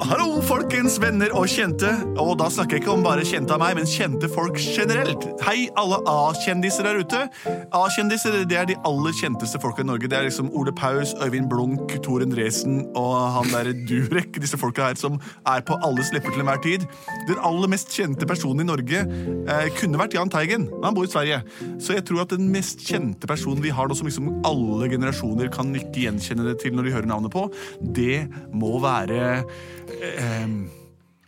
Hallo, folkens venner og kjente. Og da snakker jeg ikke om bare kjente av meg, men kjente folk generelt. Hei, alle A-kjendiser der ute. A-kjendiser det er de aller kjenteste folka i Norge. Det er liksom Ole Paus, Øyvind Blunk, Tor Endresen og han derre Durek. Disse folka her som er på alles lepper til enhver tid. Den aller mest kjente personen i Norge eh, kunne vært Jahn Teigen, men han bor i Sverige. Så jeg tror at den mest kjente personen vi har nå, som liksom alle generasjoner kan ikke gjenkjenne det til når de hører navnet på, det må være Ehm,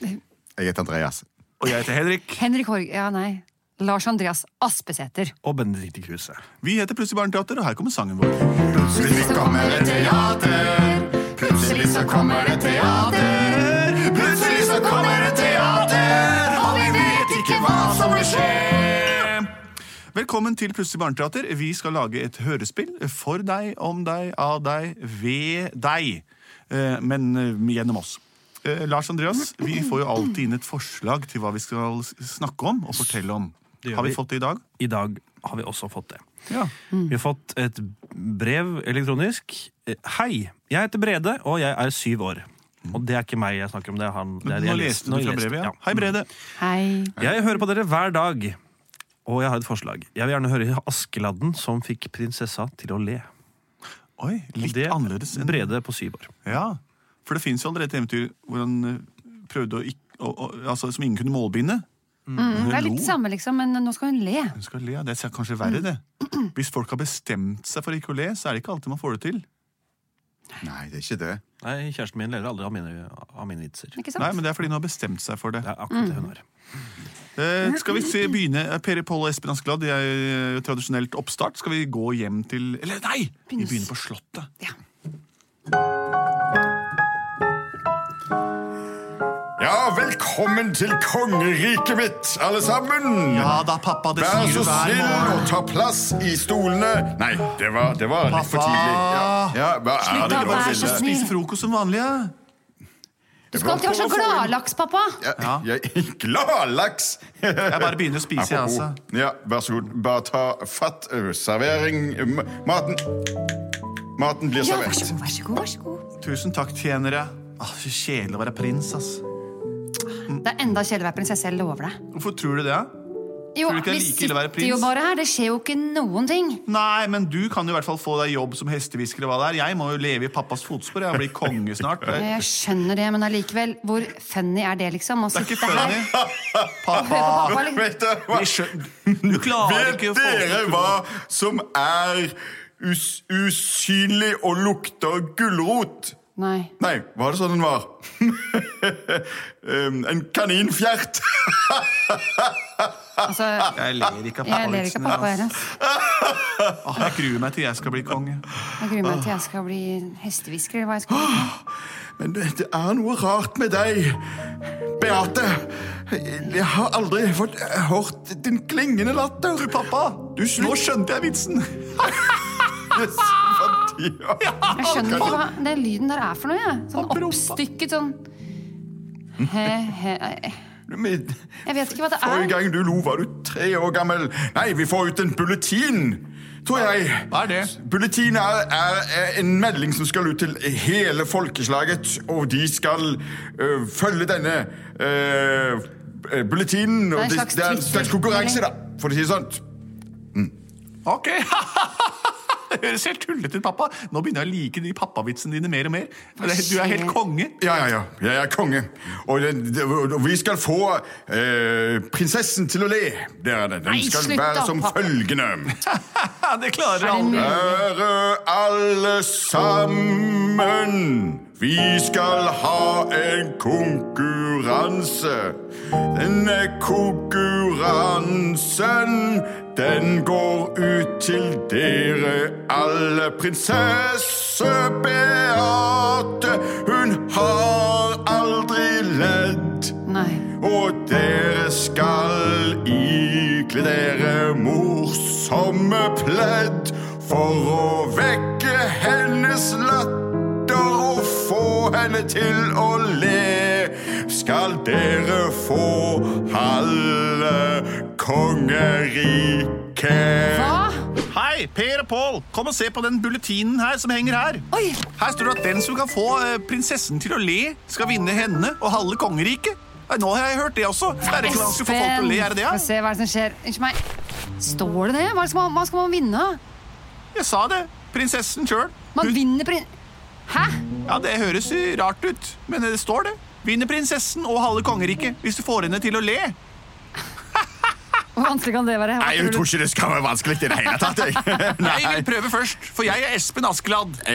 Jeg heter Andreas. og jeg heter Henrik. Henrik Horg... Ja, nei. Lars Andreas Aspesæter. Og Benedicte Kruse. Vi heter Plutselig barneteater, og her kommer sangen vår. Plutselig så kommer det teater. Plutselig så kommer det teater. Plutselig så kommer det teater, og vi vet ikke hva som vil skje. Velkommen til Plutselig barneteater. Vi skal lage et hørespill for deg, om deg, av deg, ved deg. Eh, Men eh, gjennom oss. Eh, Lars Andreas, vi får jo alltid inn et forslag til hva vi skal s- snakke om og fortelle om. Det gjør Har vi vi. fått det i dag? I dag har vi også fått det. Ja. Vi har fått et brev elektronisk. Eh, Hei, jeg heter Brede, og jeg er syv år. Og det er ikke meg jeg snakker om. det er han. Det er Nå leste Mm. du fra brevet, ja. Mm. Hei, Brede. Hei. Jeg hører på dere hver dag, og jeg har et forslag. Jeg vil gjerne høre Askeladden som fikk prinsessa til å le. Oi, litt det- annerledes enn Brede på syv år. Ja, for det finnes jo allerede et eventyr hvor han eh, prøvde å ikke å- å- altså, Som ingen kunne målbinde. Mm, det er Lo. litt samme, Mm. liksom, men nå skal hun le. Hun skal le, ja. Det er kanskje verre, det. Hvis folk har bestemt seg for ikke å le, så er det ikke alltid man får det til. Nei, det er ikke det. Nei, kjæresten min ler aldri av mine, av mine vitser. Ikke sant? Nei, men det er fordi hun har bestemt seg for det. Det er akkurat det hun har. Eh, skal vi se, begynne eh, Per Pål og Espen Askeladd, det er eh, tradisjonelt oppstart. Skal vi gå hjem til Eller nei! Vi Begynner- begynner på Slottet. Ja. Ja, velkommen til kongeriket mitt, alle sammen. Ja da, pappa, det Vær sier så du hver snill å morgen. ta plass i stolene. Nei, det var, det var litt for Pappa! tidlig. Ja, ja, hva Slutt er da, vær det så Mathilde? snill. Spise frokost som vanlig, ja. Du skal alltid være så gladlaks, pappa! Ja, jeg, gladlaks! Jeg bare begynner å spise, jeg, altså. Ja, vær så god. Bare ta fatt. ø, Servering. ø, ma- Maten Maten blir Ja, vær servert. så god, vær så god. vær så god. Tusen takk, tjenere. Ah, så kjedelig å være prins, ass. Mm. Det er enda kjedeligere å være prinsesse, jeg lover deg. Hvorfor tror du det? ja? Jo, Tror du ikke det er vi like ille å være sitter jo prins? bare her, det skjer jo ikke noen ting. Nei, men du kan jo i hvert fall få deg jobb som hestehvisker. og hva det er. Jeg må jo leve i pappas fotspor. Jeg blir konge snart. Det Jeg skjønner det, men allikevel, hvor funny er det, liksom? Å er ikke sitte her funny. og høre på Pappa pappa, eller? Vet dere hva? vi skjøn- Du klarer ikke å Vet få dere hva som er us usynlig og lukter gulrot? Nei. Nei, var det sånn den var? Um, en kaninfjert. Altså, Jeg ler ikke av jeg ler ikke av pappa pappavitsene. heller. ass. Jeg gruer meg til jeg skal bli konge. Jeg gruer meg til jeg skal bli hestehvisker, eller hva jeg skal bli. Men det, det er noe rart med deg, Beate. Jeg har aldri fått hørt din klingende latter. Du, pappa! Du, nå skjønte jeg vitsen! Yes, fordi- Jeg skjønner ikke hva den lyden der er for noe, jeg. Sånn oppstykket sånn he, he, Du, men- Jeg vet ikke hva det Forrige er. gang du lo, var du tre år gammel. Nei, vi får ut en bulletin, tror jeg. Hva er det? Bulletin er, er, er en melding som skal ut til hele folkeslaget, og de skal øh, følge denne øh, øh, bulletinen. og Det er en de- slags det er en slags konkurranse, da, for å si det sånn. Ok! Det høres helt tullete ut, pappa. Nå begynner jeg å like de pappavitsene dine mer og mer. Du er helt konge. Ja, ja, ja. Jeg er konge. Og, det, det, og vi skal få øh, prinsessen til å le. Der er det. Den Nei, skal slutt være da, som pappa. følgende. Det klarer Er det alle. Kjære alle sammen, vi skal ha en konkurranse. Denne konkurransen, den går ut til dere alle. Prinsesse Beate, hun har aldri ledd. Nei. Og dere skal ikle dere morsomme pledd for å vekke hennes latter og få henne til å le. Skal dere få halve kongeriket? Hva? Hei! Hei, Per og Pål, kom og se på den bulletinen her som henger her. Oi! Her står det at den som kan få eh, prinsessen til å le, skal vinne henne og halve kongeriket. Nei, Nå har jeg hørt det også. Det er ikke vanskelig å få folk til å le, er det det? Få ja? se hva er det som skjer. Unnskyld meg. Står det det? Hva skal man, hva skal man vinne? Jeg sa det. Prinsessen sjøl. Man vinner prin... Hæ? Ja, det høres eh, rart ut, men det står det. Vinner prinsessen og halve kongeriket hvis du får henne til å le. Hvor vanskelig kan det være? Hva Nei, tror jeg du? tror ikke det skal være vanskelig i det hele tatt. jeg. Jeg vil prøve først, for jeg er Espen Askeladd. Ja,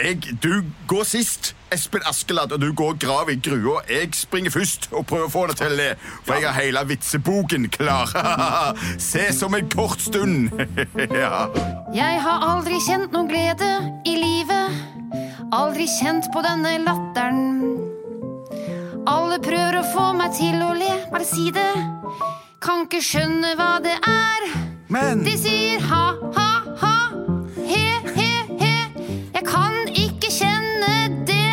jeg, du går sist, Espen Askeladd, og du går grav i grua. Jeg springer først og prøver å få det til å le, for jeg har hele vitseboken klar. Se som en kort stund. ja. Jeg har aldri kjent noen glede i livet. Aldri kjent på denne latteren. Alle prøver å få meg til å le, bare si det. Kan ikke skjønne hva det er. Men De sier ha, ha, ha. He, he, he. Jeg kan ikke kjenne det.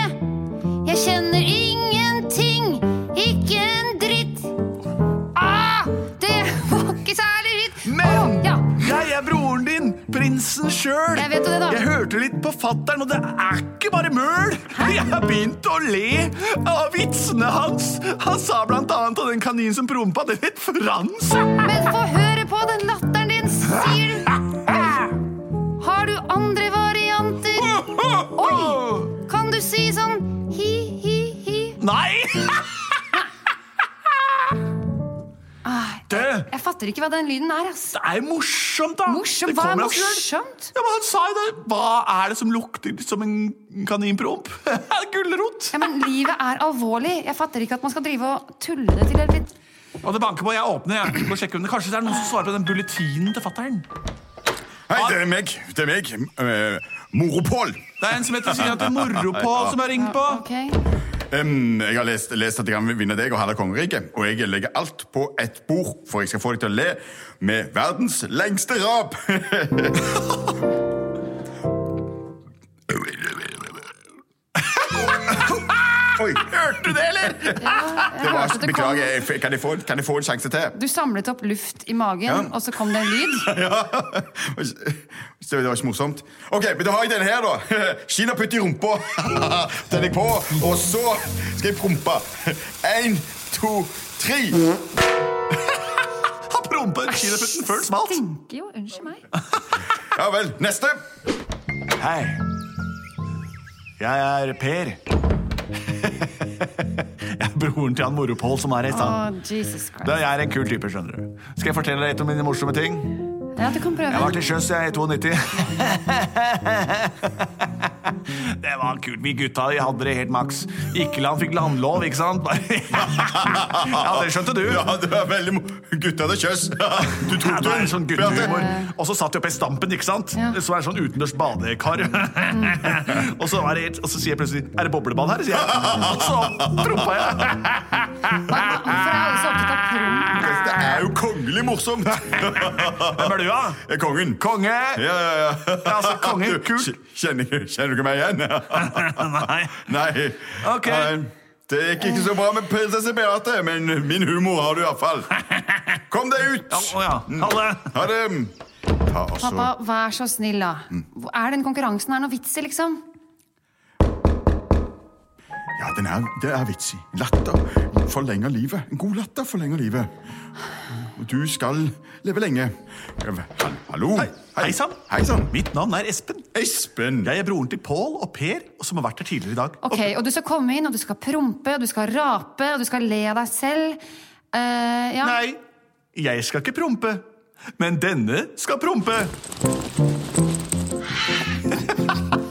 Jeg kjenner ingenting. Ikke en dritt. Ah, det var ikke særlig dritt. Men- ja. jeg er broren din, prinsen sjøl. Jeg vet jo det da. Jeg hørte litt på fatter'n, og det er ikke bare møl. Jeg har begynt å le av vitsene hans. Han sa blant annet av den kaninen som prompa. Det het Frans. Men få høre på den latteren din, sier du. Har du andre varianter? Oi! Kan du si sånn hi, hi, hi? Nei! Det Jeg fatter ikke hva den lyden er, ass. det er morsomt, da. Morsom, Det hva er kommer av seg selv. morsomt? Ja, men han sa jo det. Hva er det som lukter som en kaninpromp? Gulrot. Ja, men livet er alvorlig. Jeg fatter ikke at man skal drive og tulle det til. Eller... Og det banker på. Jeg åpner. jeg Går og sjekker om det. Kanskje det er noen som svarer på den bulletinen til fatter'n. Hei, det er meg. Det er meg. Eh, Moropol. Det er en som heter sier at det er Moropål som har ringt på. Ok. Em, jeg har lest, lest at jeg kan vinne deg og halve kongeriket, og jeg legger alt på ett bord, for jeg skal få deg til å le med verdens lengste rap. Oi, hørte du det, eller? Det var, hørte Ah, det kom. beklager, jeg, f- kan jeg, få, kan jeg få en sjanse til? Du samlet opp luft i magen, og så kom det en lyd. Ja. Det var ikke morsomt. OK, men da har jeg denne her, da. Kinaputt i rumpa. Den er jeg på. Og så skal jeg prompe. Én, to, tre. Han prompa ut kinaputten før den smalt. Stinker jo. Unnskyld meg. Ja vel. Neste. Hei. Jeg er Per. Jeg er broren til han Moropål som er her i Å, stad. Jesus Christ. Da, Jeg er en kul type, skjønner du. Skal jeg fortelle deg et om mine morsomme ting? Ja, du kan Jeg var prøve. til sjøs jeg i 92. Det var kult. Vi gutta vi hadde det helt maks. Ikkeland fikk landlov, ikke sant? Bare- Ja, det skjønte du. Ja, det var veldig mo... Gutta det kjøss. Ja, det Du tok er den. en sånn guttehumor. Og så satt de oppe i stampen, ikke sant? Ja. Så er det sånn utendørs badekar. og, så er det, helt- og så sier jeg plutselig 'Er det boblebad her?' sier jeg. Og så prompa jeg. Hvorfor Ah, er alle så opptatt av promp? Dette er jo kongelig morsomt. Hvem er du, da? Jeg er kongen. Konge! Ja, ja, ja. altså, kongen, Ah, Du, kult. kj- Kjenner, kjenner du ikke meg igjen? Nei. Nei. Ok. Nei. Det gikk ikke så bra med prinsesse Beate, men min humor har du iallfall. Kom deg ut! Ja, å ja. Ha det. Ha det. Ta også. Pappa, vær så snill, da. Mm. Hvor- Er den konkurransen her noe vits i, liksom? Ja, den er, det er vitsig. Latter forlenger livet. En god latter forlenger livet. Og du skal leve lenge. Hall- Hallo. Hei sann. Hei sann. Mitt navn er Espen. Espen. Jeg er broren til Pål og Per, og som har vært her tidligere i dag. Ok, Og du skal komme inn, og du skal prompe, og du skal rape, og du skal le av deg selv. Eh, ja. Nei, jeg skal ikke prompe. Men denne skal prompe.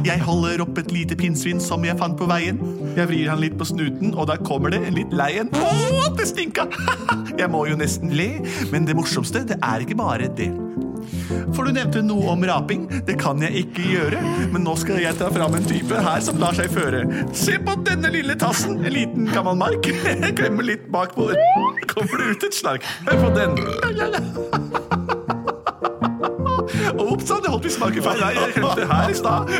Jeg holder opp et lite pinnsvin som jeg fant på veien. Jeg vrir han litt på snuten, og da kommer det en litt lei en. Å, det stinka! Jeg må jo nesten le, men det morsomste, det er ikke bare det. For du nevnte noe om raping. Det kan jeg ikke gjøre. Men nå skal jeg ta fram en type her som lar seg føre. Se på denne lille tassen. En liten gammel mark. Jeg klemmer litt bak på den. Kommer det ut et snark. Hør på den. Ops sann, det holdt vi smaker feil. Nei, jeg klemte her i stad.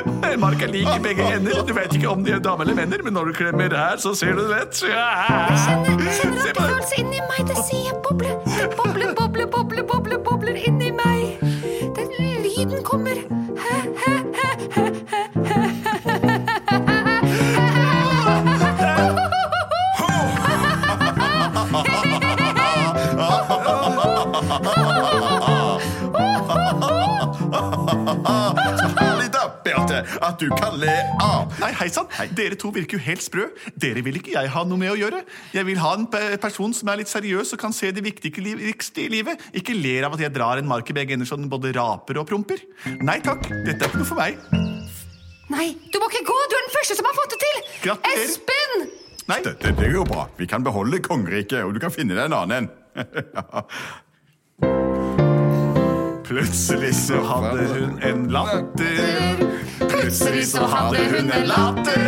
Mark er lik i begge ender. Du vet ikke om de er dame eller venner, men når du klemmer her, så ser du det lett. Kjenner Se dere på den. følelsen inni meg? Det sier boble, boble, boble, boble, boble, bobler inni meg. Det lyden kommer. Herlig da, Beate, at du kan le av. Nei, hei sann! Dere to virker jo helt sprø. Dere vil ikke jeg ha noe med å gjøre. Jeg vil ha en pe- person som er litt seriøs og kan se det viktige liv- viktigste i livet. Ikke ler av at jeg drar en mark i begge ender så den både raper og promper. Nei takk, dette er ikke noe for meg. Nei, du må ikke gå! Du er den første som har fått det til! Gratulerer. Espen! Nei, Det, det, det går bra. Vi kan beholde kongeriket, og du kan finne deg en annen en. Plutselig så hadde hun en latter. Plutselig så hadde hun en latter.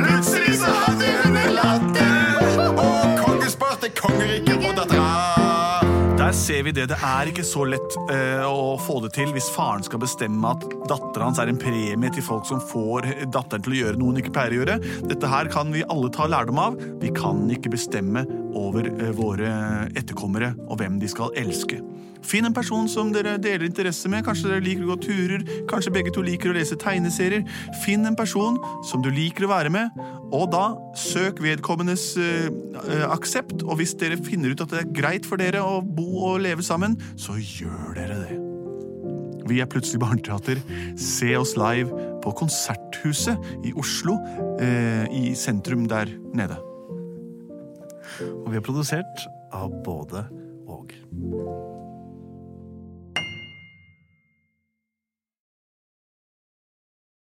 Plutselig så hadde hun en latter. Og kongesport er kongeriket og dattera. Der ser vi det. Det er ikke så lett eh, å få det til hvis faren skal bestemme at datteren hans er en premie til folk som får datteren til å gjøre noe hun ikke pleier å gjøre. Dette her kan vi alle ta lærdom av. Vi kan ikke bestemme over eh, våre etterkommere og hvem de skal elske. Finn en person som dere deler interesse med. Kanskje dere liker å gå turer. Kanskje begge to liker å lese tegneserier. Finn en person som du liker å være med, og da søk vedkommendes eh, eh, aksept. Og hvis dere finner ut at det er greit for dere å bo og leve sammen, så gjør dere det. Vi er Plutselig barneteater. Se oss live på Konserthuset i Oslo, eh, i sentrum der nede. Og vi er produsert av både og.